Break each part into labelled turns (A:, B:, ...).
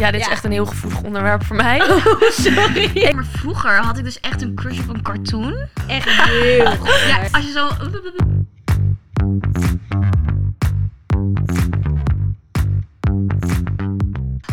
A: Ja, dit
B: Ja.
A: is echt een heel gevoelig onderwerp voor mij.
C: Oh,
B: Sorry.
C: Maar vroeger had ik dus echt een crush op een cartoon.
B: Echt heel goed.
C: Ja, als je zo...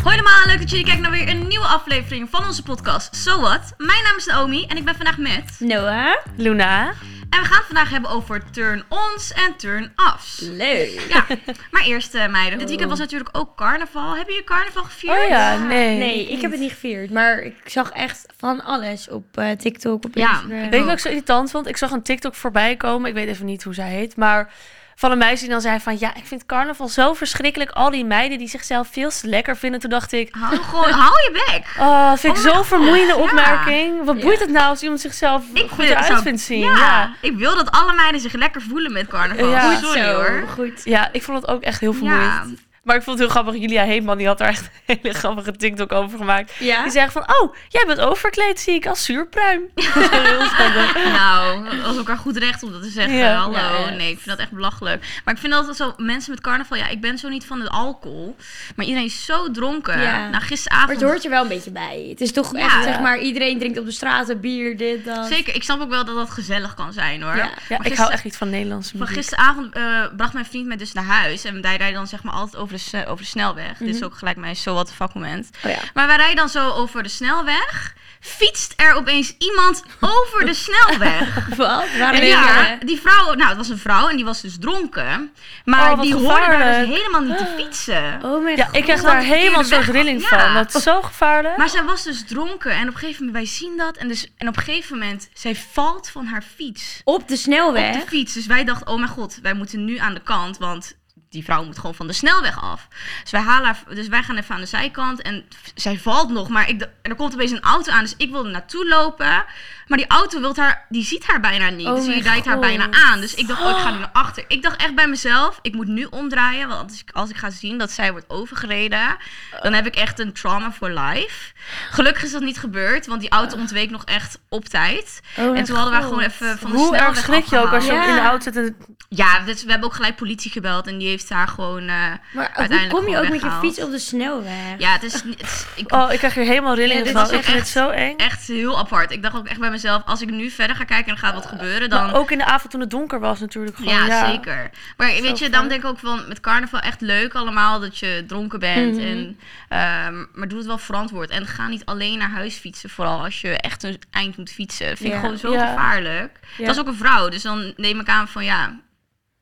C: Hoi allemaal, leuk dat jullie kijken naar weer een nieuwe aflevering van onze podcast So What. Mijn naam is Naomi en ik ben vandaag met...
B: Noah.
A: Luna.
C: En we gaan het vandaag hebben over turn-ons en turn-offs.
B: Leuk.
C: Ja, maar eerst eh, meiden. Dit weekend was natuurlijk ook carnaval. Hebben jullie carnaval gevierd?
A: Oh ja, nee.
B: Nee, ik heb het niet gevierd. Maar ik zag echt van alles op eh, TikTok, op
C: Ja.
B: Instagram.
A: Weet je wat ik zo irritant vond? Ik zag een TikTok voorbij komen. Ik weet even niet hoe zij heet. Maar van een meisje die dan zei van... Ja, ik vind carnaval zo verschrikkelijk. Al die meiden die zichzelf veel te lekker vinden. Toen dacht ik...
C: Hou, gewoon, hou je bek.
A: Oh, dat vind ik
C: Oh mijn
A: zo'n vermoeiende
C: God, ja.
A: opmerking. Wat boeit het nou als iemand zichzelf
C: Ik
A: goed
C: vind het
A: eruit
C: zo-
A: vindt zien?
C: Ja,
A: Ja.
C: ik wil dat alle meiden zich lekker voelen met carnaval.
A: Ja.
B: Goed
C: Sorry
B: zo.
C: hoor.
B: Goed.
A: ja, ik vond het ook echt heel vermoeiend. Maar ik vond het heel grappig. Julia Heeman die had daar echt een hele grappige TikTok over gemaakt.
B: Dus Ja?
C: Ah?
A: Die zei van... Oh, jij bent overkleed, zie ik, als zuurpruim. heel schattig.
C: Nou, als elkaar goed recht om dat te zeggen.
A: Ja.
C: Hallo.
B: Ja, echt.
C: Nee, ik vind dat echt belachelijk. Maar ik vind altijd zo, mensen met carnaval, ja, ik ben zo niet van het alcohol. Maar iedereen is zo dronken.
B: Ja.
C: Nou,
B: Maar
C: gisteravond.
B: het hoort er wel een beetje bij. Het is toch
C: Ja.
B: echt, zeg maar, iedereen drinkt op de straten bier, dit, dat.
C: Zeker, ik snap ook wel dat dat gezellig kan zijn hoor.
B: Ja.
C: Maar
A: Ja, ik
C: gister-
A: hou echt niet van Nederlandse
C: Van
A: muziek.
C: gisteravond eh, bracht mijn vriend mij dus naar huis. En wij rijden dan zeg maar altijd over de, sne- over de snelweg. Dit
A: Mhm.
C: is ook gelijk mijn zo wat the fuck moment.
B: Oh ja.
C: Maar wij rijden dan zo over de snelweg. Fietst er opeens iemand over de snelweg.
B: Wat? Waarom
C: En ja, die vrouw, nou het was een vrouw en die was dus dronken. Maar
A: Oh, wat
C: die hoorde daar
A: gevaarlijk.
C: dus helemaal niet te fietsen.
B: Oh mijn
A: Ja,
B: god.
A: ik krijg
C: Omdat
A: daar
C: het verkeerde
A: helemaal
C: weg
A: zo'n
C: gaat.
A: rilling
C: Ja.
A: van. Dat is zo gevaarlijk.
C: Maar zij was dus dronken en op een gegeven moment, wij zien dat. En, dus, en op een gegeven moment, zij valt van haar fiets.
B: Op de
C: Op de
B: snelweg.
C: fiets. Dus wij dachten, oh mijn god, wij moeten nu aan de kant, want die vrouw moet gewoon van de snelweg af. Dus wij, halen haar, dus wij gaan even aan de zijkant en f- zij valt nog. Maar ik, d- en er komt opeens een auto aan, dus ik wil er naartoe lopen. Maar die auto wilt haar, die ziet haar bijna niet.
B: Oh
C: dus die
B: mijn
C: rijdt haar
B: god.
C: bijna aan. Dus ik dacht, oh, ik ga nu naar achter. Ik dacht echt bij mezelf, ik moet nu omdraaien. Want als ik, als ik ga zien dat zij wordt overgereden, dan heb ik echt een trauma for life. Gelukkig is dat niet gebeurd, want die auto ontweek nog echt op tijd.
B: Oh mijn
C: en toen hadden we
B: god.
C: gewoon even van de
A: Hoe
C: snelweg
A: erg schrik je ook als je
B: afgehaald.
A: in de
B: Ja.
A: auto zit en
C: ja, dus we hebben ook gelijk politie gebeld en die heeft haar gewoon. eh,
B: Maar hoe
C: uiteindelijk
B: kom je
C: gewoon
B: ook met je
C: weggehaald.
B: fiets op de snelweg?
C: ja, het is, niet- het is- ik,
A: Oh, ik krijg hier helemaal rillingen
C: Ja, dit
A: van.
C: was ook
A: Ik vind het
C: echt-
A: zo eng.
C: echt heel apart. Ik dacht ook echt bij mezelf: als ik nu verder ga kijken en er gaat wat gebeuren,
A: Maar
C: dan.
A: ook in de avond toen het donker was natuurlijk gewoon.
C: ja, zeker. Maar weet je,
A: fijn.
C: dan denk ik ook van met carnaval echt leuk allemaal dat je dronken bent.
A: Mhm.
C: en, ehm, maar doe het wel verantwoord. En ga niet alleen naar huis fietsen, vooral als je echt een eind moet fietsen. Dat vind
B: Ja.
C: ik gewoon zo
A: Ja.
C: gevaarlijk.
A: Ja.
C: Dat is ook een vrouw, dus dan neem ik aan van ja,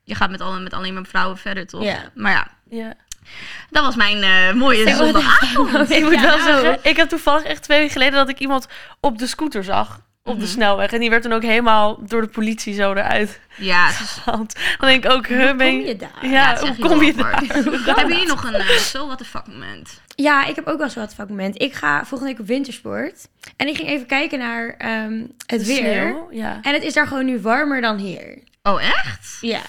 C: je gaat met, al, met alleen maar vrouwen verder, toch?
B: Ja.
C: Maar ja,
A: Ja.
C: dat was mijn eh, mooie
A: Ik wil-
C: zondagavond.
A: Ik moet
B: Ja,
A: wel
B: nou,
A: zeggen, ik heb toevallig echt twee weken geleden dat ik iemand op de scooter zag. Op
C: Mhm.
A: de snelweg. En die werd dan ook helemaal door de politie zo eruit
C: Ja, het is-
A: gehaald. Dan denk ik ook, huh,
B: Hoe
A: ben
B: kom je daar?
A: Ah, Ja,
C: Ja, het is
A: hoe
C: echt
A: kom je
C: niet
A: daar?
C: haalbaar. Hebben jullie nog een eh, zo what the fuck moment?
B: Ja, ik heb ook wel zo'n wat vakmoment. Ik ga volgende week op wintersport. En ik ging even kijken naar ehm, het
A: De
B: weer.
A: sneeuw, Ja.
B: En het is daar gewoon nu warmer dan hier.
C: Oh, echt?
B: Ja.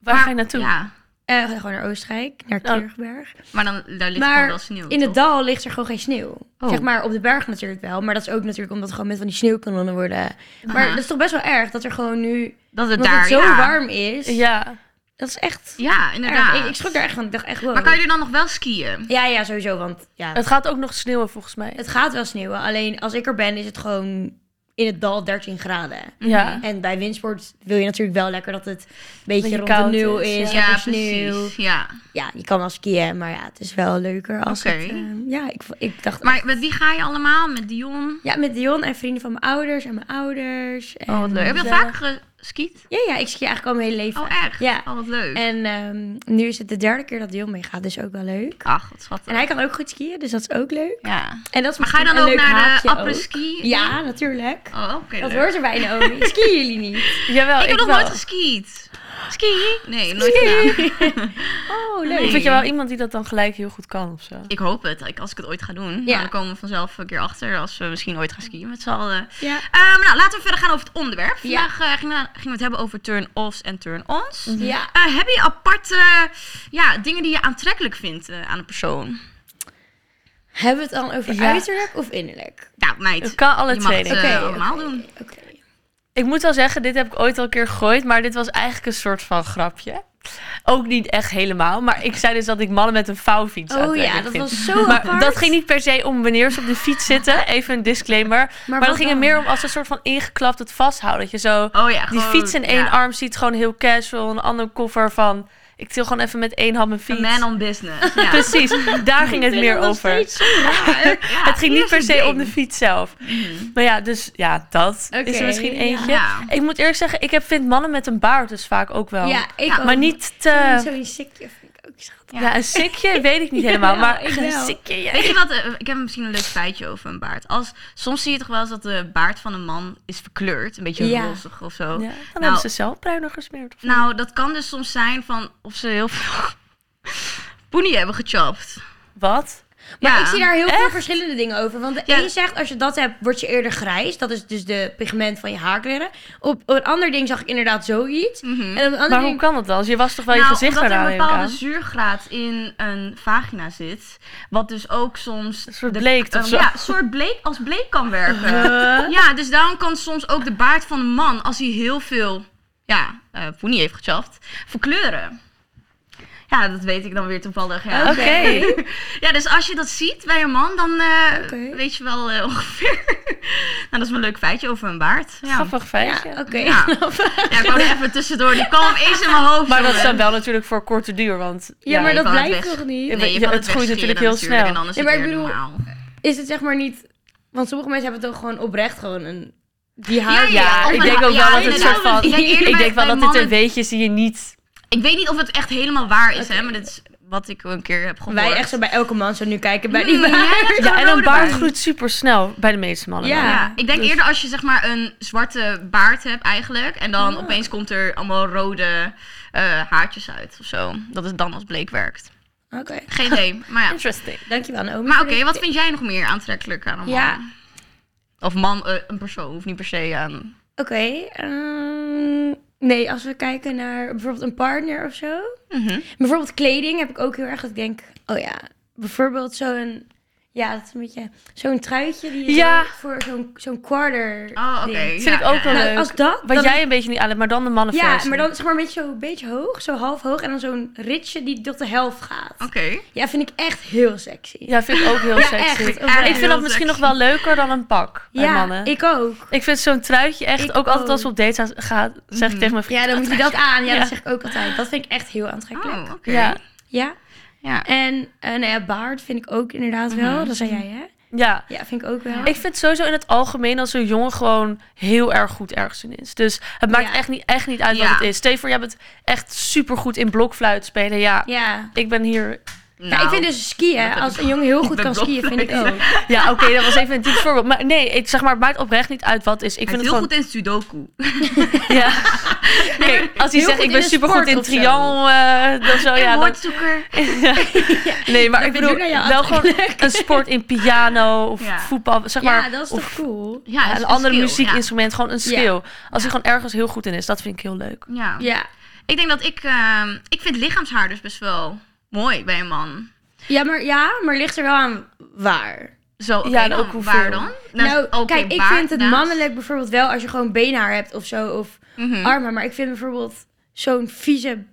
A: Waar
C: Maar-
A: ga je naartoe?
C: Ja,
B: Eh, gewoon naar Oostenrijk, naar
A: Oh.
B: Kierberg.
C: maar dan daar ligt gewoon wel
B: maar
C: sneeuw.
B: in het
C: toch?
B: dal ligt er gewoon geen sneeuw.
C: Oh.
B: Zeg maar op de berg natuurlijk wel. Maar dat is ook natuurlijk omdat het gewoon met van die sneeuwkanonnen worden. Maar
C: Aha.
B: dat is toch best wel erg dat er gewoon nu...
C: Dat het
B: Omdat
C: daar
B: het zo
C: ja.
B: warm is.
A: Ja.
B: Dat is echt
C: Ja,
B: erg.
C: inderdaad.
B: Ik, ik schrok daar echt van. Ik dacht echt wow.
C: Maar kan je er dan nog wel skiën?
B: Ja, ja, sowieso. Want ja,
A: Het gaat ook nog sneeuwen volgens mij.
B: het gaat wel sneeuwen. Alleen als ik er ben is het gewoon in het dal 13 graden.
A: Ja.
C: Mhm.
B: En bij windsport wil je natuurlijk wel lekker dat het een beetje,
A: Beetje
B: rond
A: koud
B: de nul
A: is,
B: is.
A: ja.
B: lekker
C: Ja,
B: sneeuw.
C: precies. Ja.
B: Ja, je kan wel skiën, maar ja, het is wel leuker als
C: Oké.
B: het... ehm, ja, ik, vo- ik dacht...
C: Maar met wie ga je allemaal? Met Dion?
B: ja, met Dion en vrienden van mijn ouders en mijn ouders. En,
C: Oh, wat leuk. Heb je al
A: Gezellig.
C: vaak geskiet?
B: Ja, ja, ik ski eigenlijk al mijn hele leven.
C: Oh, echt?
B: Ja.
C: Oh, wat leuk.
B: En ehm, nu is het de derde keer dat Dion meegaat, dus ook wel leuk.
C: Ach, wat
B: En
C: schattig.
B: hij kan ook goed skiën, dus dat is ook leuk.
C: Ja.
B: En dat is
C: Maar ga je
B: misschien
C: dan ook
B: een leuk
C: naar de
B: haakje
C: après-ski?
B: Ja, natuurlijk.
C: Oh, oké.
B: dat
C: leuk.
B: hoort erbij, Naomi. Skiën jullie niet?
A: Jawel,
C: Ik heb nog
A: wel.
C: nooit geskiet. Ski? Nee, nooit gedaan.
B: Oh,
A: Ik
B: leuk.
A: vind je wel iemand die dat dan gelijk heel goed kan of zo.
C: Ik hoop het, ik- als ik het ooit ga doen. Nou,
B: Ja.
C: dan komen we vanzelf een keer achter als we misschien ooit gaan skiën met z'n allen.
B: Ja.
C: Ehm, nou, laten we verder gaan over het onderwerp.
B: Ja.
C: Vandaag eh, gingen, we, gingen we het hebben over turn-offs en turn-ons.
B: Ja.
C: Eh, heb je aparte ja, dingen die je aantrekkelijk vindt eh, aan een persoon?
B: Hebben we het dan over
A: Ja.
B: uiterlijk of innerlijk?
C: Nou, meid,
A: Het kan alle
C: je mag
A: twee,
C: het
A: denk ik.
C: eh,
B: Oké,
C: allemaal
B: oké,
C: doen.
B: Oké.
A: Ik moet wel zeggen, dit heb ik ooit al een keer gegooid, maar dit was eigenlijk een soort van grapje. Ook niet echt helemaal. Maar ik zei dus dat ik mannen met een vouwfiets
B: Oh
A: aantrekkelijk
B: ja, dat
A: vind.
B: was zo
A: Maar
B: apart.
A: dat ging niet per se om wanneer ze op de fiets zitten. Even een disclaimer. Maar,
B: wat
A: dat ging er
B: dan?
A: meer om als een soort van ingeklapt het vasthouden. Dat je zo
C: Oh ja,
A: die
C: gewoon,
A: fiets in één
C: ja.
A: arm ziet. Gewoon heel casual. Een ander koffer van... Ik til gewoon even met één hand mijn
C: A
A: fiets.
C: man on business. Ja.
A: Precies, daar ging het
B: Ik vind
A: meer
B: dat nog
A: over.
B: steeds zo raar.
C: Ja,
A: het ging niet per se
C: eerste
A: om de
C: ding.
A: fiets zelf. Maar ja, dus ja, dat is
B: Oké,
A: er misschien
B: ja.
A: eentje.
C: Ja.
A: Ik moet eerlijk zeggen, ik heb, vind mannen met een baard dus vaak ook wel.
B: ja, ik
C: Ja,
B: ook.
A: Maar niet te...
B: Zo'n- Zo'n sikje vind ik ook schattig.
A: Ja, een sikje weet ik niet helemaal.
B: Jawel,
A: maar
B: ik
A: een
B: wel.
A: sikje, ja.
C: Weet je wat, eh, ik heb misschien een leuk feitje over een baard. Als, soms zie je toch wel eens dat de baard van een man is verkleurd. Een beetje
B: Ja.
C: rozig of zo.
A: Ja, dan hebben ze zelf bruiner gesmeerd. Of
C: Nou, dat kan dus soms zijn van of ze heel veel poenie hebben gechopt.
A: wat?
B: Maar
C: Ja.
B: ik zie daar heel veel
A: Echt?
B: verschillende dingen over. Want de
C: Ja.
B: een zegt, als je dat hebt, word je eerder grijs. Dat is dus de pigment van je haarkleren. Op, op een ander ding zag ik inderdaad zoiets.
C: Mhm.
B: En op een ander
A: Maar hoe
B: ding...
A: kan dat dan? Je was toch wel je
C: nou,
A: gezicht
C: omdat er
A: daarna
C: een
A: neem ik
C: bepaalde
A: aan.
C: zuurgraad in een vagina zit. Wat dus ook soms...
A: Een soort
C: de-
A: bleekt of
C: eh,
A: zo. Eh.
C: Ja, een soort bleek als bleek kan werken. ja, dus daarom kan soms ook de baard van een man, als hij heel veel ja, eh poenie heeft gechapt, verkleuren. Ja, dat weet ik dan weer toevallig. Ja.
A: Oké.
C: Ja, dus als je dat ziet bij een man, dan eh,
B: Oké.
C: weet je wel eh, ongeveer. nou, dat is wel een leuk feitje over een baard. Ja.
A: Grappig feitje.
B: Ja, oké.
C: Ja. ja, ik wou er even tussendoor. Die kwam eens in mijn hoofd.
A: Maar dat is
C: jongen.
A: dan wel natuurlijk voor korte duur, want...
B: Ja, maar
C: je
B: dat
C: kan het
B: blijft
C: weg-
B: toch niet?
A: Ja,
C: Nee, je
A: Ja,
C: kan
A: het groeit
C: wegscheren
A: natuurlijk heel snel.
C: En anders
B: Ja,
C: is
B: maar
C: het
B: ik
C: weer
B: bedoel-
C: normaal.
B: Is het zeg maar niet... Want sommige mensen hebben het ook gewoon oprecht gewoon een... Die
C: Ja,
B: haar...
A: Ja,
C: of
A: ik
C: een-
A: denk ook
C: ja,
A: wel dat het
C: inderdaad.
A: soort van...
C: Ik denk eerder
A: Ik
C: bij-
A: denk wel dat dit
C: bij
A: een
C: mannen-
A: weetje is die je niet...
C: Ik weet niet of het echt helemaal waar is, hè, maar dat is wat ik een keer heb gehoord.
B: Wij echt zo bij elke man zo nu kijken bij die
C: Mm,
B: baard.
C: jij hebt
A: Ja,
C: zo'n
A: en een
C: rode
A: baard groeit super snel bij de meeste mannen.
B: Ja.
A: dan.
C: Ja, ik denk
B: dus-
C: eerder als je zeg maar een zwarte baard hebt eigenlijk. En dan opeens komt er allemaal rode eh, haartjes uit of zo. Dat het dan als bleek werkt.
B: Oké.
C: Geen idee, maar ja.
A: Interesting.
B: Dankjewel Naomi.
C: Maar
B: voor
C: oké,
B: dit
C: wat
B: tip.
C: vind jij nog meer aantrekkelijk aan een man?
B: Ja,
C: Of man, eh, een persoon, hoeft niet per se aan...
B: oké. ehm, nee, als we kijken naar bijvoorbeeld een partner of zo.
C: Mhm.
B: Bijvoorbeeld kleding heb ik ook heel erg dat ik denk, oh ja, bijvoorbeeld zo'n, ja, dat is een beetje zo'n truitje die je
A: Ja.
B: zo voor zo'n zo'n quarter.
C: Oh, oké.
B: ding.
A: Vind ik ook wel
B: Nou,
A: leuk.
B: als dat,
A: Wat
B: dan-
A: jij een beetje niet aan hebt, maar dan de mannenversie.
B: Ja, maar dan zeg maar een beetje zo, een beetje hoog, zo half hoog en dan zo'n ritje die tot de helft gaat.
C: Oké.
B: Ja, vind ik echt heel sexy.
A: Ja, vind ik ook heel
B: Ja,
A: sexy.
B: echt.
C: Ja,
A: Ik vind
C: heel
A: dat misschien nog
C: sexy.
A: wel leuker dan een pak bij
B: Ja,
A: mannen.
B: ik ook.
A: Ik vind zo'n truitje echt,
B: Ik
A: ook altijd als we
B: ook. Mhm.
A: op dates gaan- gaan, zeg ik tegen mijn vriend.
B: Ja, dan moet je dat aan. Ja,
A: Ja.
B: dat zeg ik ook altijd. Dat vind ik echt heel aantrekkelijk.
C: Oh, oké.
A: Ja,
B: Ja.
C: Ja.
B: En eh, nou ja, baard vind ik ook inderdaad wel. Dat zei jij, hè?
A: ja.
B: Ja, vind ik ook wel.
A: Ik vind sowieso in het algemeen als een jongen gewoon heel erg goed ergens in is. Dus het maakt
B: Ja.
A: echt, niet, echt niet uit
C: Ja.
A: wat het is. Steven, jij bent echt supergoed in blokfluit spelen. Ja,
B: Ja.
A: ik ben hier...
B: Ja,
C: Nou,
B: ik vind dus skiën, als een jongen heel goed
C: ben
B: kan skiën, vind ik ook.
A: Ja, oké, dat was even een diep voorbeeld. Maar nee, het, zeg maar, het maakt oprecht niet uit wat het is. Ik
C: Hij
A: vind
C: is
A: het
C: heel
A: gewoon...
C: goed in Sudoku.
A: Ja. Kijk, als hij
B: heel
A: zegt
B: goed
A: ik
B: in
A: ben
B: een
A: supergoed
B: sport
A: in
B: of zo.
A: triangle, eh dan zo, ja,
C: en
A: dan,
C: woordzoeker.
A: nee, maar
B: Dat
A: ik
B: vind
A: bedoel,
B: ik nou ja
A: wel gewoon een sport in piano of
C: Ja.
A: voetbal, zeg maar,
B: Ja, dat is
A: of
B: toch cool?
C: Ja,
A: ja,
C: is
A: een ander
C: skill,
A: muziekinstrument, gewoon een
B: Ja.
A: skill. Als hij gewoon ergens heel goed in is, dat vind ik heel leuk.
C: Ja. Ja.
B: Ja.
C: Ik denk dat ik... ehm, ik vind lichaamshaar dus best wel mooi bij een man.
B: Ja, maar, ja, maar ligt er wel aan waar.
C: Zo, oké,
A: Ja, en
C: dan,
A: ook hoeveel.
C: waar dan?
B: Nou,
C: oké,
B: kijk, ik
C: baard
B: vind het
C: naast.
B: mannelijk bijvoorbeeld wel als je gewoon beenhaar hebt of zo, of
C: Mhm.
B: armen. Maar ik vind bijvoorbeeld zo'n vieze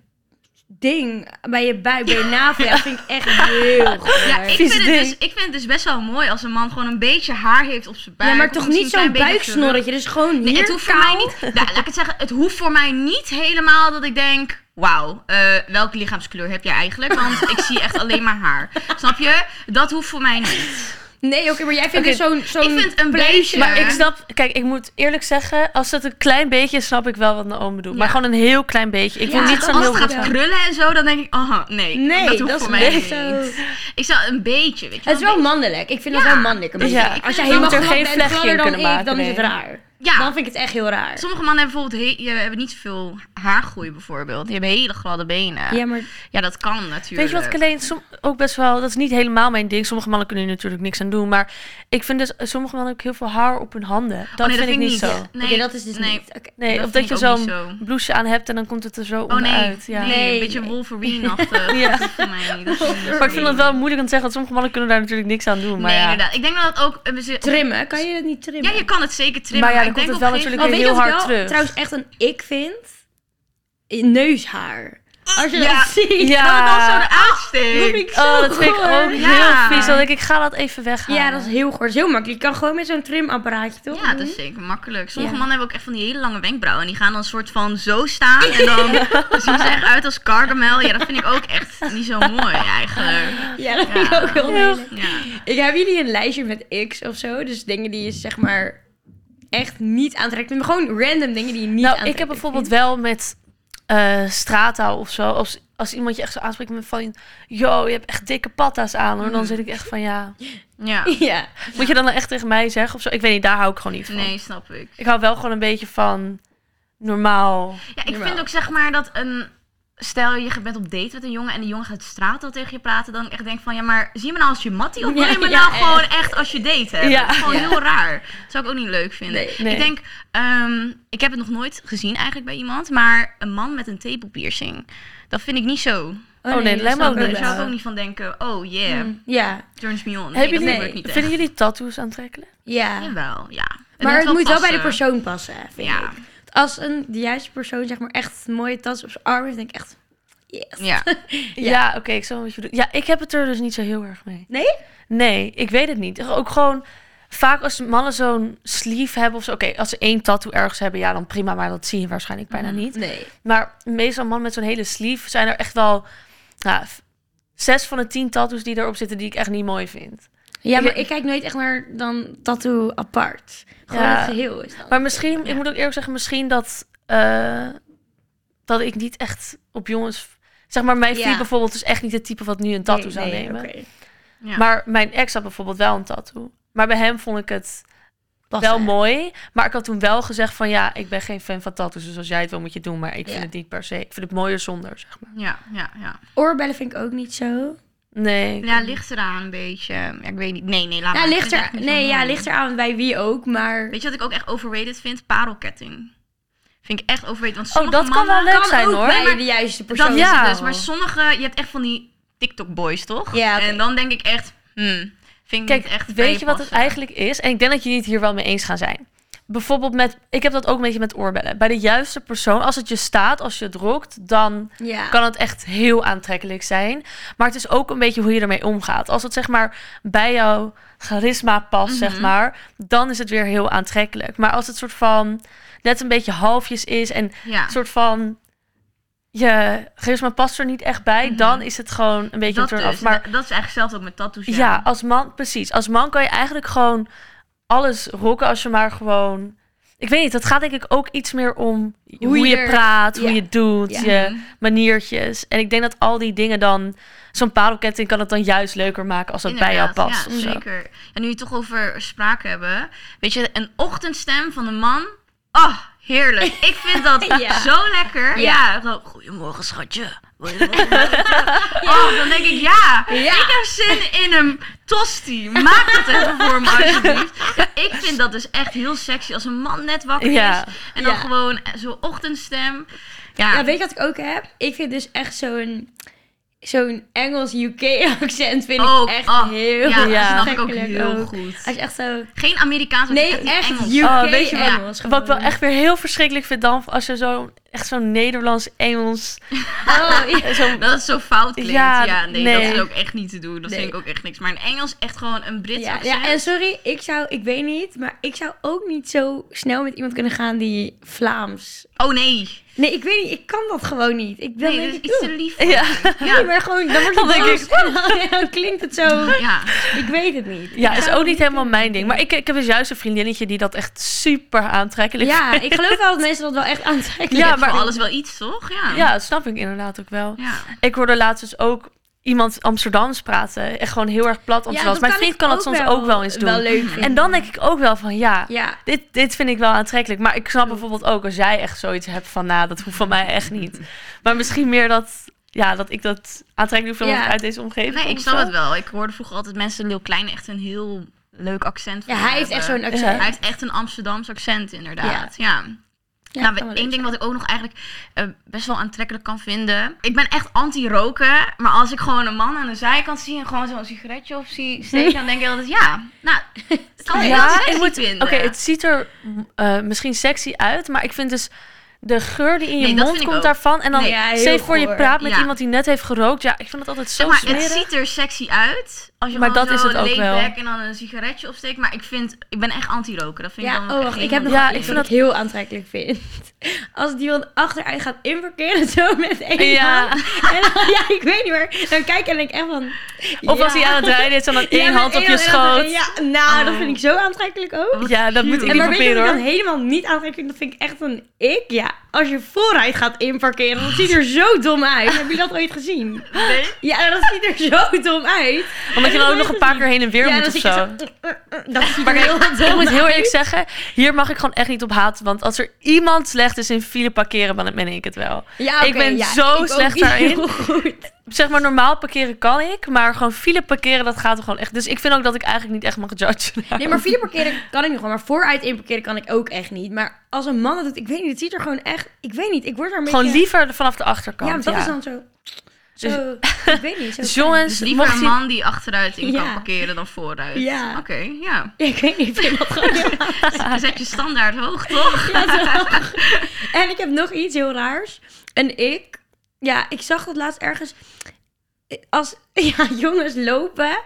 B: ding bij je buik, bij je navel, ja, vind ik echt heel goed.
C: Ja, ik
A: Vies
C: vind, het
A: ding.
C: dus, ik vind het dus best wel mooi als een man gewoon een beetje haar heeft op zijn buik.
B: Ja, maar
C: of
B: toch
C: misschien
B: niet
C: een
B: zo'n
C: klein beetje op zijn rug.
B: buiksnorretje, dus gewoon hier
C: Nee, het hoeft voor mij niet. Nou, laat ik het zeggen, het hoeft voor mij niet helemaal dat ik denk. Wauw, eh, welke lichaamskleur heb jij eigenlijk? Want ik zie echt alleen maar haar. Snap je? Dat hoeft voor mij niet.
B: Nee, oké, maar jij vindt
A: Oké,
B: dus zo'n zo'n
C: ik vind een
B: pleisje-
C: beetje-
A: Maar
C: Ja.
A: ik snap, kijk, ik moet eerlijk zeggen, als dat een klein beetje is, snap ik wel wat Naomi bedoelt. Maar
C: Ja.
A: gewoon een heel klein beetje. Ik
B: Ja,
A: wil niet
B: dat
A: zo'n
B: was
A: heel
C: Als het
A: goed
C: gaat
A: zijn.
C: krullen en zo, dan denk ik, oh nee,
B: Nee,
C: dat hoeft
B: dat is
C: voor mij
B: niet
C: niet.
B: zo.
C: Ik zou een beetje, weet je
B: Het is wel
C: een
B: mannelijk. Ik vind dat
C: Ja.
B: wel mannelijk. Een beetje.
A: Ja.
B: Als jij
A: Je
B: helemaal
A: moet er
B: glad
A: geen
B: bent,
A: vlechtje in
B: gladder dan
A: kunnen
B: ik,
A: maken,
B: dan is
A: nee.
B: het raar.
C: beetje-
B: Dan
C: Ja,
B: vind ik het echt heel raar.
C: sommige mannen hebben bijvoorbeeld he- je hebben niet zoveel haargroei bijvoorbeeld. Die hebben hele gladde benen.
B: Ja, maar
C: Ja, dat kan natuurlijk.
A: Weet je wat ik alleen som- ook best wel... Dat is niet helemaal mijn ding. Sommige mannen kunnen hier natuurlijk niks aan doen. Maar ik vind dus eh, sommige mannen ook heel veel haar op hun handen. Dat,
C: Oh, nee,
A: vind, ik niet zo.
C: Nee,
B: Oké, dat is dus
C: nee.
B: niet. Oké.
A: Nee,
C: Dat
A: of dat
C: vind
A: je
C: ik ook niet
A: zo'n
C: zo.
A: blouseje aan hebt en dan komt het er zo
C: Oh nee,
A: onderuit. Ja.
C: nee,
B: Nee,
C: een beetje
B: nee.
C: Wolverine-achtig.
A: Ja.
C: Dat is voor mij niet. Dat is niet
A: Maar ik vind dat wel moeilijk om te zeggen, want sommige mannen kunnen daar natuurlijk niks aan doen. Maar
C: nee,
A: ja.
C: inderdaad. Ik denk dat het ook... eh, we zitten-
B: Trimmen, kan je Oh, dat niet
C: Ja,
B: trimmen?
C: je kan het zeker trimmen.
A: Maar ja,
C: ik
A: dan
C: denk
A: komt het wel
C: op een gegeven
A: natuurlijk
B: Oh, weet
A: heel
B: je wat ik
A: hard
B: wel
A: terug.
B: trouwens echt een ik vind? Neushaar. Als je
C: Ja.
B: dat ziet.
A: Ja.
C: Oh, Dat het dan zo eruit
B: Dat vind
C: steekt.
B: ik zo
A: Oh, dat vind Ah. ik
B: goor.
A: ook
C: Ja.
A: heel vies. Dan denk ik, ik ga dat even weghalen.
B: Ja, dat is heel goor. Dat is heel makkelijk. Je kan gewoon met zo'n trimapparaatje, toch?
C: Ja, dat is zeker makkelijk. Sommige
B: Ja.
C: mannen hebben ook echt van die hele lange wenkbrauwen. En die gaan dan soort van zo staan. En dan zien ze echt uit als Gargamel. Ja, dat vind ik ook echt niet zo mooi eigenlijk.
B: Ja, dat vind ik ook heel
A: Heel
B: lelijk.
C: Ja.
B: Ik heb jullie een lijstje met X of zo. Dus dingen die je zeg maar echt niet aantrekt. Maar gewoon random dingen die je niet
A: nou,
B: aantrekt.
A: ik heb bijvoorbeeld wel met eh straattaal of zo. Als, als iemand je echt zo aanspreekt met van... Yo, je hebt echt dikke patta's aan hoor. Dan zit ik echt van ja...
C: Mm. ja.
B: Ja.
A: Moet je dan nou echt tegen mij zeggen of zo? Ik weet niet, daar hou ik gewoon niet van.
C: Nee, snap ik.
A: Ik hou wel gewoon een beetje van normaal.
C: Ja, ik
B: Normaal.
C: vind ook zeg maar dat een... Stel, je bent op date met een jongen en die jongen gaat de straat al tegen je praten. Dan echt denk van, ja, maar zie je me nou als je mattie of wil
B: Ja,
C: je me
B: ja,
C: nou
B: echt.
C: gewoon echt als je date hebt?
A: Ja.
C: Dat is gewoon
B: Ja.
C: heel raar. Dat zou ik ook niet leuk vinden.
B: Nee.
A: Nee.
C: Ik denk, ehm, ik heb het nog nooit gezien eigenlijk bij iemand, maar een man met een tepelpiercing, dat vind ik niet zo.
A: Oh, nee, lijkt
B: dat
A: me
B: snap
A: ook
B: ik
A: niet.
C: Daar zou ik
A: Ja.
C: ook niet van denken, oh yeah,
B: Hmm. Ja,
C: turns me on. Nee,
A: Hebben
C: dat
A: jullie,
C: wil ik niet echt.
A: vinden jullie tattoos aantrekkelijk?
B: ja.
C: Jawel, ja.
B: maar het moet wel bij
C: passen.
B: de persoon passen, vind
C: Ja.
B: ik. Want Als een, de juiste persoon zeg maar echt een mooie tas op zijn arm heeft, denk ik echt... Yes.
C: Ja.
A: Ja, oké, ik zal wat je bedoelt. Ja, ik heb het er dus niet zo heel erg mee.
B: Nee?
A: Nee, ik weet het niet. Ook gewoon vaak als mannen zo'n sleeve hebben of zo. Oké, als ze één tattoo ergens hebben, ja, dan prima. Maar dat zie je waarschijnlijk
C: Mm.
A: bijna niet.
B: Nee.
A: Maar meestal mannen met zo'n hele sleeve zijn er echt wel... Nou, v- zes van de tien tattoos die erop zitten die ik echt niet mooi vind.
B: Ja, maar ik kijk nooit echt naar dan tattoo apart. Gewoon
A: Ja.
B: het geheel is dat.
A: Maar misschien, ik moet ook eerlijk zeggen, misschien dat, eh, dat ik niet echt op jongens... Zeg maar, mijn
B: Ja.
A: vriend bijvoorbeeld is echt niet het type wat nu een tattoo zou nemen.
C: Ja.
A: Maar mijn ex had bijvoorbeeld wel een tattoo. Maar bij hem vond ik het wel mooi. Maar ik had toen wel gezegd van ja, ik ben geen fan van tattoos. Dus als jij het wil moet je het doen. Maar ik vind
B: Ja.
A: het niet per se. Ik vind het mooier zonder, zeg maar.
C: Ja, ja, ja.
B: Oorbellen vind ik ook niet zo.
A: Nee.
C: Ja, ligt eraan een beetje. Ja, ik weet niet. Nee, nee, laat
B: Ja,
C: maar. Ik
B: ligt
C: vind het
B: er,
C: echt niet
B: nee,
C: zo
B: ja,
C: mooi.
B: ligt er aan bij wie ook, maar...
C: Weet je wat ik ook echt overrated vind? Parelketting. Vind ik echt overrated. Want
A: Oh,
C: sommige
A: dat kan
C: mannen...
A: wel leuk zijn
B: ook
A: hoor.
B: bij
C: maar
B: de juiste persoon.
C: Dat
A: Ja.
C: is het dus. Maar sommige... Je hebt echt van die TikTok-boys, toch?
B: Ja, oké.
C: En dan denk ik echt... Hmm, vind ik
A: Kijk,
C: niet echt bij
A: weet je wat het
C: passen.
A: eigenlijk is? En ik denk dat jullie het hier wel mee eens gaan zijn. Bijvoorbeeld met, ik heb dat ook een beetje met oorbellen. Bij de juiste persoon, als het je staat, als je het rokt, dan
B: Ja.
A: kan het echt heel aantrekkelijk zijn. Maar het is ook een beetje hoe je ermee omgaat. Als het zeg maar bij jouw charisma past,
C: Mhm.
A: zeg maar, dan is het weer heel aantrekkelijk. Maar als het soort van net een beetje halfjes is en
C: Ja.
A: soort van je charisma past er niet echt bij, dan is het gewoon een beetje
C: Mhm. Dat,
A: een turn-off.
C: dus.
A: Maar
C: dat is eigenlijk zelfs ook met tattoos.
A: ja. als man, precies. Als man kan je eigenlijk gewoon alles rocken als je maar gewoon. Ik weet niet, dat gaat denk ik ook iets meer om hoe,
B: je
A: je
B: er-
A: praat,
B: ja.
A: hoe je het doet,
B: Ja.
A: je maniertjes. En ik denk dat al die dingen dan, zo'n parelketting kan het dan juist leuker maken als dat bij jou
C: Inderdaad,
A: past.
C: Ja,
A: of zo.
C: zeker. En nu je het toch over spraak hebben. Weet je, een ochtendstem van een man. Oh, heerlijk. Ik vind dat
B: Ja.
C: zo lekker.
B: Ja.
C: Ja. gewoon, Goedemorgen, schatje. Goedemorgen. Oh, dan denk ik, ja,
B: Ja.
C: ik heb zin in een tosti. Maak het even voor me, alsjeblieft. Ja, ik vind dat dus echt heel sexy als een man net wakker
A: Ja.
C: is. En dan
B: Ja.
C: gewoon zo'n ochtendstem. Ja,
B: Ja, weet je wat ik ook heb? Ik vind dus echt zo'n zo'n Engels UK accent vind
C: ook.
B: ik echt
C: oh,
B: heel
C: ja, dat
A: Ja.
C: snap ik ook
B: aantrekkelijk
C: heel
B: ook.
C: goed.
B: Als je echt zo
C: Geen Amerikaans, maar
B: Nee,
C: echt,
B: echt
C: Engels.
B: UK
A: Oh, weet je
C: wat-
B: Engels. gewoon.
A: Wat ik wel echt weer heel verschrikkelijk vind dan, als je zo, echt zo'n Nederlands-Engels...
B: Oh, ja.
A: zo'n
C: Dat het zo fout klinkt.
A: Ja,
C: Ja, nee,
A: nee.
C: dat is ook echt niet te doen. Dat
B: Nee.
C: vind ik ook echt niks. Maar in Engels echt gewoon een Brits
B: Ja,
C: accent.
B: ja, en sorry, ik zou, ik weet niet, maar ik zou ook niet zo snel met iemand kunnen gaan die Vlaams.
C: Oh nee.
B: Nee, ik weet niet, ik kan dat gewoon niet. Ik ben
C: Nee, dat is iets te lief. voor
A: Ja.
C: mij.
B: Nee,
C: Ja.
B: maar gewoon, dan wordt
A: Dan
B: het
A: denk
B: boos en dan- en dan klinkt het zo.
C: ja.
B: Ik weet het niet.
A: Ja, is ook niet helemaal mijn ding. Maar ik, ik heb dus juist een vriendinnetje die dat echt super aantrekkelijk
B: Ja, ik geloof wel dat mensen dat wel echt aantrekkelijk
A: Ja,
C: maar
A: maar-
C: alles wel iets, toch? Ja.
A: Ja, dat snap ik inderdaad ook wel.
C: Ja.
A: Ik hoorde laatst dus ook iemand Amsterdams praten. Echt gewoon heel erg plat Amsterdams.
B: dat
A: Mijn vriend
B: ik
A: kan dat soms ook wel eens doen.
B: Wel leuk vinden.
A: en dan denk ik ook wel van ja,
B: Ja.
A: Dit, dit vind ik wel aantrekkelijk. Maar ik snap bijvoorbeeld ook als jij echt zoiets hebt van nou, dat hoeft van mij echt niet. Maar misschien meer dat, ja, dat ik dat aantrekkelijk vind
B: Ja.
A: omdat ik uit deze omgeving.
C: Nee,
A: kom
C: ik
A: of
C: snap
A: zo.
C: het wel. Ik hoorde vroeger altijd mensen Lil Klein echt een heel leuk accent
B: Ja,
C: voor
B: hij heeft echt
C: hebben.
B: zo'n accent.
C: Hij heeft echt een Amsterdams accent, inderdaad. Ja.
B: Ja,
C: nou,
B: kan wel
C: één
B: leuk
C: ding wat ik ook nog eigenlijk eh, best wel aantrekkelijk kan vinden. Ik ben echt anti-roken, maar als ik gewoon een man aan de zijkant zie en gewoon zo'n sigaretje op zie steken, dan denk ik altijd, ja, nou, dat kan ik wel
A: Ja,
C: sexy
A: ik moet. Oké,
C: vinden.
A: het ziet er mm, eh, misschien sexy uit, maar ik vind dus de geur die in je
C: Nee, dat
A: mond
C: vind ik
A: komt
C: ook.
A: daarvan. En dan
B: Nee, ja, heel
A: steeds voor je
B: goor.
A: praat met
C: Ja.
A: iemand die net heeft gerookt. Ja, ik vind dat altijd zo
C: Zeg maar,
A: smerig.
C: het ziet er sexy uit. Als je
A: Maar
C: gewoon
A: dat is
C: zo
A: het ook
C: laid
A: wel.
C: back en dan een sigaretje opsteekt. Maar ik vind, ik ben echt anti-roken. Dat vind ik
B: Ja,
C: dan
B: oh, wacht, ik heb nog
A: Ja,
B: iets
A: ik vind
B: wat ik heel aantrekkelijk vind. Als het iemand achteruit gaat inparkeren, zo met één
A: Ja.
B: hand. En dan- ja, ik weet niet meer. Dan kijk en denk ik echt van...
A: Of als
B: ja.
A: hij aan het rijden is en dan
B: Ja,
A: één
B: met
A: hand op
B: één
A: je
B: en dan-
A: schoot. Ja,
B: Ja, nou, dat
C: Oh.
B: vind ik zo aantrekkelijk ook.
A: dat moet ik
C: En
B: En
A: niet
B: maar weet je
A: proberen
B: wat ik
A: hoor.
B: dan helemaal niet aantrekkelijk vind? Dat vind ik echt een ik. Ja, als je vooruit gaat inparkeren, dat ziet er zo dom uit. Heb je dat ooit gezien?
C: Nee?
B: Ja, dat ziet er zo dom uit.
A: Omdat je dan ook nog een paar keer heen en weer
B: ja,
A: moet
B: dan
A: of
B: zit je
A: zo.
B: zo- Dat ziet er
A: Maar
B: heel
A: kijk,
B: dom
A: ik moet heel
B: uit.
A: eerlijk zeggen, hier mag ik gewoon echt niet op haten. Want als er iemand slecht is in file parkeren, dan ben ik het wel.
B: Ja,
A: ik
B: oké,
A: ben
B: ja,
A: zo
B: ik ook
A: slecht
B: niet
A: daarin.
B: heel goed.
A: Zeg maar, normaal parkeren kan ik, maar gewoon file parkeren, dat gaat er gewoon echt. Dus ik vind ook dat ik eigenlijk niet echt mag judgen.
B: Nee, maar file parkeren kan ik nog wel. Maar vooruit inparkeren kan ik ook echt niet. Maar als een man dat doet, ik weet niet, het ziet er gewoon echt... Ik weet niet, ik word daar een
A: Gewoon
B: beetje...
A: liever vanaf de
B: Ja, Dus-
A: achterkant.
B: want dat is dan zo... Zo, ik weet niet. Zo
A: Dus
C: Dus
A: jongens,
C: liever
A: mocht
C: een
A: je-
C: man die achteruit in
B: Ja.
C: kan parkeren dan vooruit.
B: Ja.
C: Oké, ja.
B: Ja, ik weet niet, ik vind dat gewoon heel
C: Je zet je standaard hoog, toch?
B: En ik heb nog iets heel raars. En ik, ja, ik zag dat laatst ergens. Als ja, jongens lopen,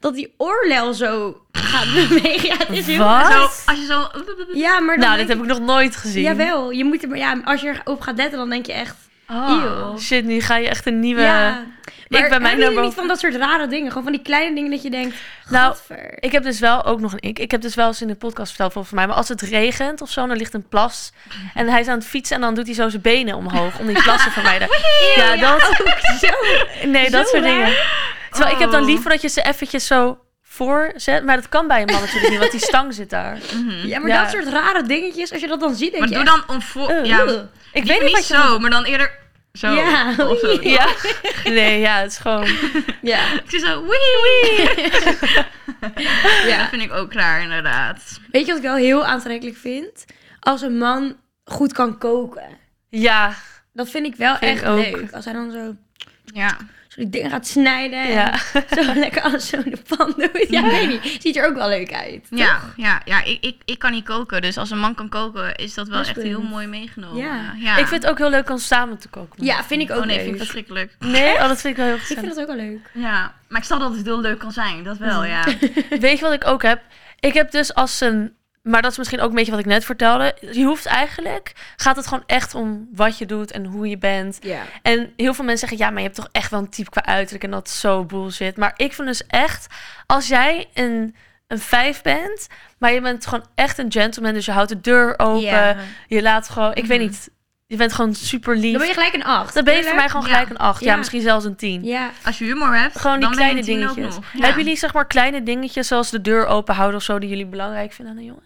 B: dat die oorlel zo gaat bewegen. Ja, het is heel
A: Wat?
C: Zo, als je zo...
B: Ja, maar dan
A: Nou, dit
B: denk
A: heb ik nog nooit gezien.
B: Jawel, je moet er, maar ja, als je erop gaat letten, dan denk je echt.
A: Oh,
B: Eeuw.
A: shit, nu ga je echt een nieuwe...
B: ja, maar
A: eh, ben mij
B: hebben jullie
A: nou
B: niet van dat soort rare dingen. Gewoon van die kleine dingen dat je denkt.
A: Nou,
B: gadver.
A: Ik heb dus wel ook nog een ik. Ik heb dus wel eens in de podcast verteld volgens mij. Maar als het regent of zo, dan ligt een plas. En hij is aan het fietsen en dan doet hij zo zijn benen omhoog om die plas te vermijden. Ja, dat.
B: ook zo.
A: Nee, dat
B: Zo
A: soort
B: raar.
A: dingen. Terwijl ik heb dan
C: Oh.
A: liever dat je ze eventjes zo voorzet. Maar dat kan bij een man natuurlijk niet, want die stang zit daar.
C: Mhm.
B: Ja, maar
A: Ja.
B: dat soort rare dingetjes, als je dat dan ziet, denk
C: Maar doe
B: je echt,
C: dan om voor...
A: Eh,
C: ja,
B: "Ugh."
A: Ik
C: niet,
A: weet niet wat
C: niet
A: je...
C: zo, maar dan eerder zo.
B: Ja.
C: Of zo.
A: Ja. Nee, ja, het is gewoon...
B: Ja,
C: Het is zo... Wee, wee.
B: ja.
C: Dat vind ik ook raar, inderdaad.
B: Weet je wat ik wel heel aantrekkelijk vind? Als een man goed kan koken.
A: Ja,
B: Dat vind ik wel
A: Vind ik
B: echt
A: ook.
B: leuk. Als hij dan zo,
C: Ja.
B: zo die dingen gaat snijden.
A: ja.
B: En zo lekker alles zo in de pan doet. Ja, ik weet niet. Ziet er ook wel leuk uit. toch?
C: Ja, ja, ja ik, ik, ik kan niet koken. Dus als een man kan koken, is dat wel echt
B: Husband.
C: heel mooi meegenomen.
B: Ja.
A: Ik vind het ook heel leuk om samen te koken.
B: Ja, vind ik ook
C: Oh nee,
B: leuk.
C: vind ik verschrikkelijk.
A: Nee, oh, dat vind ik wel heel
B: Ik
A: gezellig.
B: vind dat ook wel leuk.
C: Ja, maar ik snap dat het heel leuk kan zijn. Dat wel, ja.
A: Weet je wat ik ook heb? Ik heb dus als een. Maar dat is misschien ook een beetje wat ik net vertelde. Je hoeft eigenlijk. Gaat het gewoon echt om wat je doet en hoe je bent.
B: Ja.
A: En heel veel mensen zeggen: ja, maar je hebt toch echt wel een type qua uiterlijk. En dat is zo bullshit. Maar ik vind dus echt. Als jij een, een vijf bent. Maar je bent gewoon echt een gentleman. Dus je houdt de deur open.
B: Ja. Mhm.
A: Je laat gewoon. Ik weet niet. Je bent gewoon super lief.
B: Dan ben je gelijk een acht.
A: Dan ben je voor mij
B: Tuurlijk.
A: gewoon
C: Ja.
A: gelijk een acht. Ja.
B: Ja.
A: misschien zelfs een tien.
B: Ja.
C: Als je humor hebt,
A: Gewoon die
C: dan ben je
A: kleine
C: een tien ook
A: dingetjes.
C: nog.
A: Hebben jullie zeg maar kleine dingetjes zoals de deur open houden of zo die jullie belangrijk vinden aan een jongen?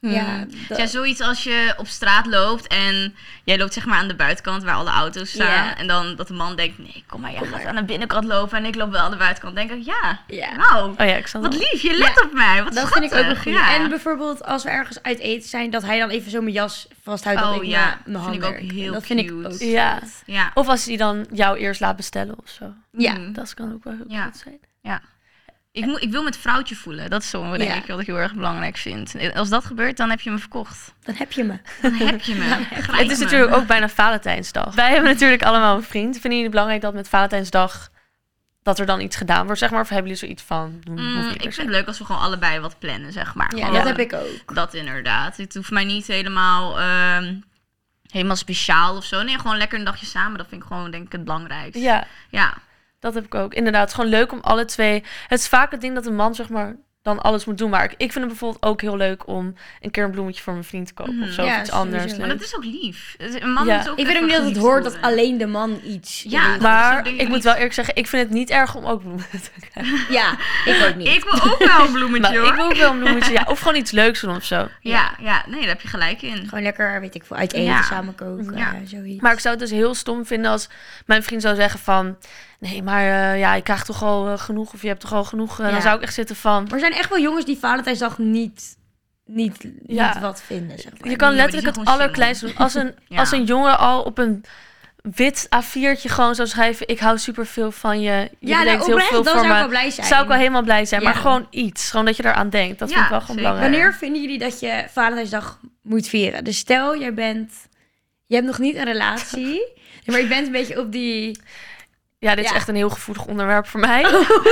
B: Ja,
C: Het
B: dat-
C: is zoiets als je op straat loopt en jij loopt zeg maar aan de buitenkant waar alle auto's staan.
B: Ja.
C: En dan dat de man denkt, nee, kom maar, jij gaat aan de binnenkant lopen en ik loop wel aan de buitenkant. denk ik, ja,
B: Ja.
C: wauw,
A: Oh ja, ik snap
C: wat
A: wel.
C: lief, je let op mij, wat
B: Dat
C: schattig.
B: vind ik ook wel goed.
C: Ja.
B: En bijvoorbeeld als we ergens uit eten zijn, dat hij dan even zo mijn jas vasthoudt.
C: Oh,
B: dat ik
C: ja.
B: ja, mijn
C: Vind
B: hand
C: ik ook
B: werk.
C: heel
B: Dat vind ik
C: cute.
B: ook.
A: Ja.
C: ja.
A: Of als die dan jou eerst laat bestellen of zo.
B: Ja.
C: Mhm.
A: Dat kan ook wel heel
C: Ja.
A: goed zijn.
C: Ik, moet, ik wil met vrouwtje voelen. Dat is zo, denk
B: Ja.
C: ik, wat ik heel erg belangrijk vind. Als dat gebeurt, dan heb je me verkocht.
B: Dan heb je me.
C: Dan heb je me. Grijp
A: Het is
C: me.
A: natuurlijk ook bijna Valentijnsdag. Wij hebben natuurlijk allemaal een vriend. Vinden jullie het belangrijk dat met Valentijnsdag dat er dan iets gedaan wordt, zeg maar? Of hebben jullie zoiets van? hm, hoeft
C: Mm,
A: niet
C: ik
A: per
C: vind
A: se?
C: het leuk als we gewoon allebei wat plannen, zeg maar.
B: Ja,
C: Gewoon
B: dat
C: een-
B: heb ik ook.
C: Dat inderdaad. Het hoeft mij niet helemaal, ehm, helemaal speciaal of zo. Nee, gewoon lekker een dagje samen. Dat vind ik gewoon, denk ik, het belangrijkste.
A: Ja,
C: Ja.
A: dat heb ik ook. Inderdaad, het is gewoon leuk om alle twee... Het is vaak het ding dat een man, zeg maar, dan alles moet doen. Maar ik, ik vind het bijvoorbeeld ook heel leuk om een keer een bloemetje voor mijn vriend te kopen
C: Mhm.
A: of zo.
B: Ja,
A: of iets anders
B: sowieso.
C: Maar
A: leuks.
C: dat is ook lief. Een man
A: Ja.
C: moet ook
B: Ik vind
C: even
B: ook niet dat het
C: geliefd
B: hoort dat
C: worden.
B: alleen de man iets.
C: Ja,
B: doet.
A: Maar
C: soort dingen
A: ik moet
C: niet.
A: wel eerlijk zeggen, ik vind het niet erg om ook bloemen te krijgen.
B: ja ik ook niet.
C: Ik wil ook wel een bloemetje,
A: Nou,
C: hoor.
A: ik wil ook wel een bloemetje. Ja, of gewoon iets leuks doen of zo.
C: Ja, ja, nee, daar heb je gelijk in.
B: Gewoon lekker, weet ik veel, uit eten,
C: Ja.
B: samen koken,
C: Ja.
B: eh, zoiets.
A: Maar ik zou het dus heel stom vinden als mijn vriend zou zeggen van... Nee, maar eh, ja, ik krijg toch al eh, genoeg of je hebt toch al genoeg. eh,
B: Ja.
A: Dan zou ik echt zitten van...
B: Maar er zijn echt wel jongens die Valentijnsdag niet, niet,
A: Ja.
B: niet wat vinden, zeg maar.
A: Je kan
C: die zijn
A: letterlijk
C: gewoon
A: het allerkleinste doen. Als een,
C: Ja.
A: als een jongen al op een wit A4'tje gewoon zou schrijven... Ik hou superveel van je. Je
B: ja, nou,
A: betekent heel
B: oprecht,
A: veel
B: dan
A: voor
B: zou ik wel
A: me.
B: blij zijn.
A: Zou ik wel helemaal blij zijn.
B: Ja.
A: Maar gewoon iets. Gewoon dat je eraan denkt. Dat
C: Ja,
A: vind ik wel gewoon
C: zeker.
A: belangrijk.
B: Wanneer vinden jullie dat je Valentijnsdag moet vieren? Dus stel, jij bent... Je hebt nog niet een relatie. Nee, maar je bent een beetje op die...
A: Ja, dit is
B: Ja.
A: echt een heel gevoelig onderwerp voor mij.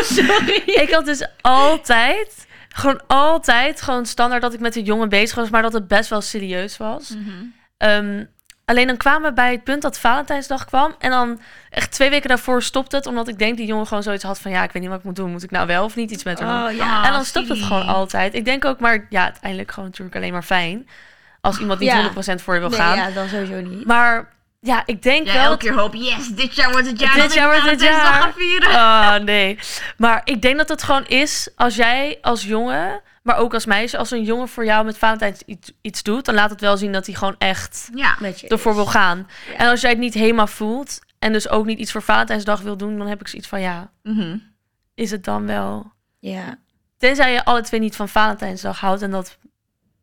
B: Sorry.
A: ik had dus altijd, gewoon altijd, gewoon standaard dat ik met een jongen bezig was, maar dat het best wel serieus was.
C: Mhm.
A: Ehm, alleen dan kwamen we bij het punt dat Valentijnsdag kwam. En dan echt twee weken daarvoor stopte het. Omdat ik denk die jongen gewoon zoiets had van... Ja, ik weet niet wat ik moet doen. Moet ik nou wel of niet iets met haar doen?
B: Oh ja.
C: Ah,
A: en dan stopt het
C: silly.
A: gewoon altijd. Ik denk ook maar... Ja, uiteindelijk gewoon natuurlijk alleen maar fijn. Als iemand niet
B: Ja.
A: 100% voor je wil
B: Nee,
A: gaan.
B: ja, dan sowieso niet.
A: Maar ja, ik denk
C: Jij
A: wel...
C: elke keer hoop, yes, dit jaar wordt het jaar
A: Dit
C: dat
A: jaar
C: ik
A: wordt het
C: Valentijnsdag
A: jaar.
C: ga vieren.
A: Oh, nee. Maar ik denk dat het gewoon is als jij als jongen, maar ook als meisje, als een jongen voor jou met Valentijns iets, iets doet, dan laat het wel zien dat hij gewoon echt
C: Ja.
B: Met je
A: ervoor wil gaan.
B: Ja.
A: En als jij het niet helemaal voelt en dus ook niet iets voor Valentijnsdag wil doen, dan heb ik zoiets van ja,
C: Mhm.
A: is het dan wel.
B: Ja,
A: Tenzij je alle twee niet van Valentijnsdag houdt en dat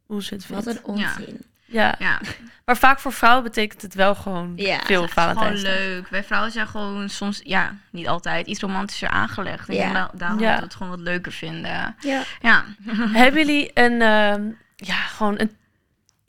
A: hoe ze het
B: wat
A: vindt.
B: een onzin.
A: Ja.
C: Ja,
A: Maar vaak voor vrouwen betekent het wel gewoon
B: Ja,
A: veel
C: gewoon
A: Valentijnsdag.
C: leuk. Wij vrouwen zijn gewoon soms, ja, niet altijd, iets romantischer aangelegd. En
B: Ja.
C: da- daarom
A: Ja.
C: dat we het gewoon wat leuker vinden.
B: Ja.
C: Ja.
A: Hebben jullie een, ehm, ja, gewoon een,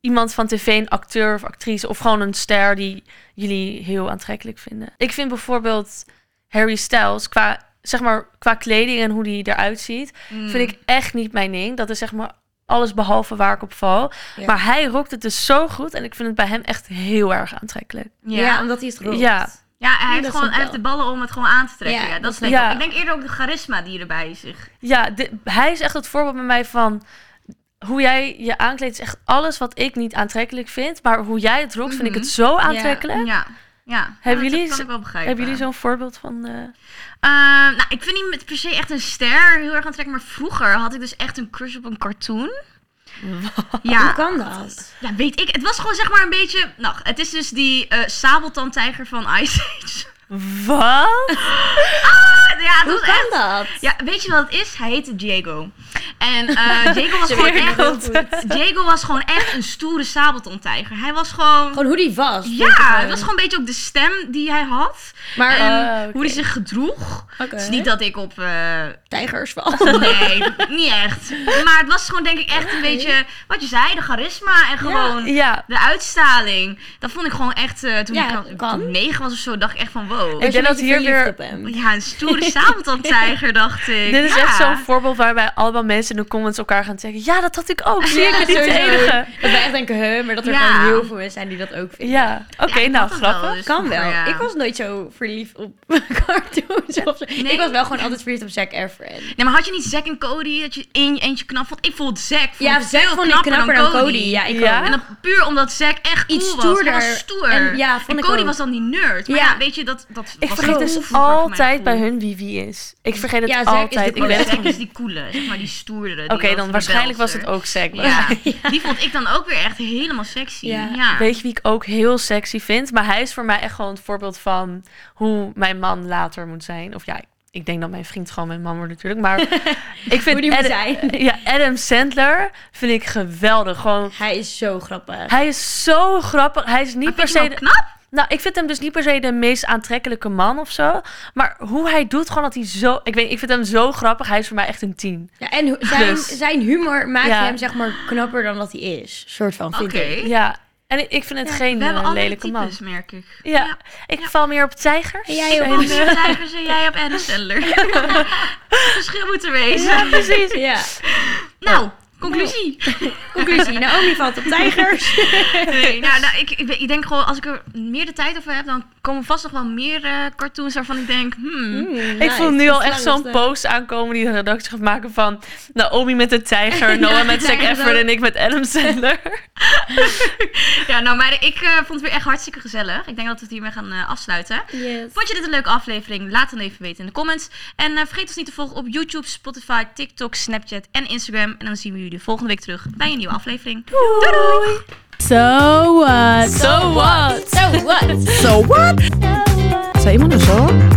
A: iemand van tv, een acteur of actrice of gewoon een ster die jullie heel aantrekkelijk vinden? Ik vind bijvoorbeeld Harry Styles qua, zeg maar, qua kleding en hoe die eruit ziet, vind ik echt niet mijn ding. Dat is zeg maar alles behalve waar ik op val.
B: Ja.
A: Maar hij rokt het dus zo goed en ik vind het bij hem echt heel erg aantrekkelijk.
B: Ja.
C: Ja. ja.
B: omdat hij het roept.
A: Ja.
C: hij,
B: dat
C: heeft gewoon,
B: vind ik
C: hij heeft de ballen om het gewoon aan te trekken.
B: Ja,
C: Ja,
B: dat
C: dat is
A: snap
C: leuk.
A: ik.
C: Ik denk eerder ook de charisma die erbij is.
A: Ja, di- hij is echt het voorbeeld bij mij van hoe jij je aankleedt is echt alles wat ik niet aantrekkelijk vind, maar hoe jij het rokt vind ik
C: Mhm.
A: het zo aantrekkelijk.
C: Ja. Ja,
A: Hebben
C: Ja, dat
A: jullie
C: kan
A: zo-
C: ik wel begrijpen.
A: Hebben jullie zo'n voorbeeld van? eh,
C: Ehm, nou, ik vind niet met per se echt een ster heel erg aantrekkelijk. Maar vroeger had ik dus echt een crush op een cartoon.
B: Hoe
C: Ja,
B: kan dat?
C: ja, weet ik. Het was gewoon zeg maar een beetje... Nou, het is dus die eh sabeltandtijger van Ice Age.
A: Wat?
C: Ah, ja, dat
B: Hoe
C: was
B: kan
C: echt...
B: dat?
C: Ja, weet je wat het is? Hij heette Diego. En eh, Diego, was gewoon
A: Diego.
C: echt, Diego was gewoon echt een stoere sabeltandtijger. Hij was gewoon...
B: Gewoon hoe die was. denk ik
C: ja, het was gewoon een beetje ook de stem die hij had.
B: Maar
C: en
A: Ah, oké.
C: ehm, hoe hij zich gedroeg.
B: Oké.
C: Het is niet dat ik op... eh,
B: tijgers wel.
C: Nee, niet echt. Maar het was gewoon denk ik echt een beetje, wat je zei, de charisma en gewoon
A: Ja.
C: de uitstraling. Dat vond ik gewoon echt, eh, toen
B: Ja,
C: ik
B: kan.
C: al- toen negen was of zo, dacht ik echt van wow.
A: denk dat hier weer-
C: Ja, een stoere sabeltandtijger dacht ik.
A: Dit is
C: Ja.
A: echt zo'n voorbeeld waarbij allemaal mensen in de comments elkaar gaan zeggen. Ja, dat had ik ook. Zie ik
B: Ja,
A: ben niet de
B: sowieso.
A: enige.
B: Dat wij echt denken, huh, maar dat er
C: Ja.
B: gewoon heel veel mensen zijn die dat ook vinden. Dus
A: Ja. Oké,
C: Ja, ik
A: nou
C: had dat wel
A: grappig.
C: eens
B: Kan
C: vroeger,
B: wel.
C: ja.
B: Ik was nooit zo verliefd op cartoons of zo.
C: Nee.
B: Ik was wel gewoon altijd verliefd op Zac Efron.
C: Nee, maar had je niet Zack en Cody dat je in je eentje knap vond? Ik vond Zack vond
B: Ja,
C: ik
B: Zac
C: veel
B: vond ik knapper dan Cody. Ja, ik
A: Ja?
B: ook.
C: En dat puur omdat Zack echt
B: Iets
C: cool was. Hij was
B: stoerder.
C: stoer.
B: En- ja, vond ik
C: Cody
B: ook.
C: was dan die nerd. Maar
B: Ja.
C: ja, weet je, dat, dat
A: Ik
C: was
A: vergeet
C: ook
A: dus
C: vroeger voor mijn
A: altijd bij
C: gevoel.
A: hun wie wie is. Ik vergeet het
B: Ja, Zack is de
A: altijd. Ik
B: coole.
A: ben
C: Maar
A: het-
C: Zack is die coole, zeg maar die stoerdere.
A: Oké, dan waarschijnlijk was het ook sec.
C: Ja, die vond ik dan ook weer echt helemaal sexy.
B: Ja.
C: Ja.
A: Weet je wie ik ook heel sexy vind? Maar hij is voor mij echt gewoon het voorbeeld van hoe mijn man later moet zijn. Of ja, ik- ik denk dat mijn vriend gewoon mijn man wordt natuurlijk. Maar ik vind
B: Hoe die moet
A: Adam-
B: zijn.
A: Ja, Adam Sandler vind ik geweldig. Gewoon,
B: Hij is zo grappig.
A: hij is zo grappig. Hij is niet
C: Maar
A: per
C: vind je
A: se...
C: hem
A: de-
C: ook knap?
A: Nou, ik vind hem dus niet per se de meest aantrekkelijke man of zo. Maar hoe hij doet, gewoon dat hij zo... Ik weet ik vind hem zo grappig. Hij is voor mij echt een tien.
B: Ja, en ho- zijn,
A: Dus.
B: zijn humor maakt
A: Ja.
B: hem zeg maar knapper dan dat hij is. Soort van,
C: Oké.
B: vind ik.
A: Ja, en ik vind het geen
C: We hebben
A: eh,
C: andere
A: lelijke man.
C: types, merk ik.
A: Ja, ik val meer op tijgers.
B: En jij op
A: En,
C: Op
A: eh,
C: Cijfers en jij op Adam Sandler. Verschil moet er wezen.
A: Ja, precies.
B: Ja.
C: Nou, conclusie.
B: Conclusie, Naomi valt op tijgers.
C: Nee, nou, nou, ik, ik, ben- ik denk gewoon, als ik er meer de tijd over heb, dan komen vast nog wel meer eh, cartoons waarvan ik denk, hmm.
B: Mm.
A: Ik voel nu al echt zo'n post aankomen die de redactie gaat maken van Naomi met de tijger, Noah met Zac
B: tijger
A: Efron
B: zo.
A: en ik met Adam Sandler.
C: Ja, nou, maar ik eh, vond het weer echt hartstikke gezellig. Ik denk dat we het hiermee gaan eh, afsluiten.
B: Yes.
C: Vond je dit een leuke aflevering? Laat dan even weten in de comments. En eh, vergeet ons niet te volgen op YouTube, Spotify, TikTok, Snapchat en Instagram. En dan zien we jullie volgende week terug bij een nieuwe aflevering. Doei! doei!
D: So what?
A: So what?
D: So what? Zou iemand een zo?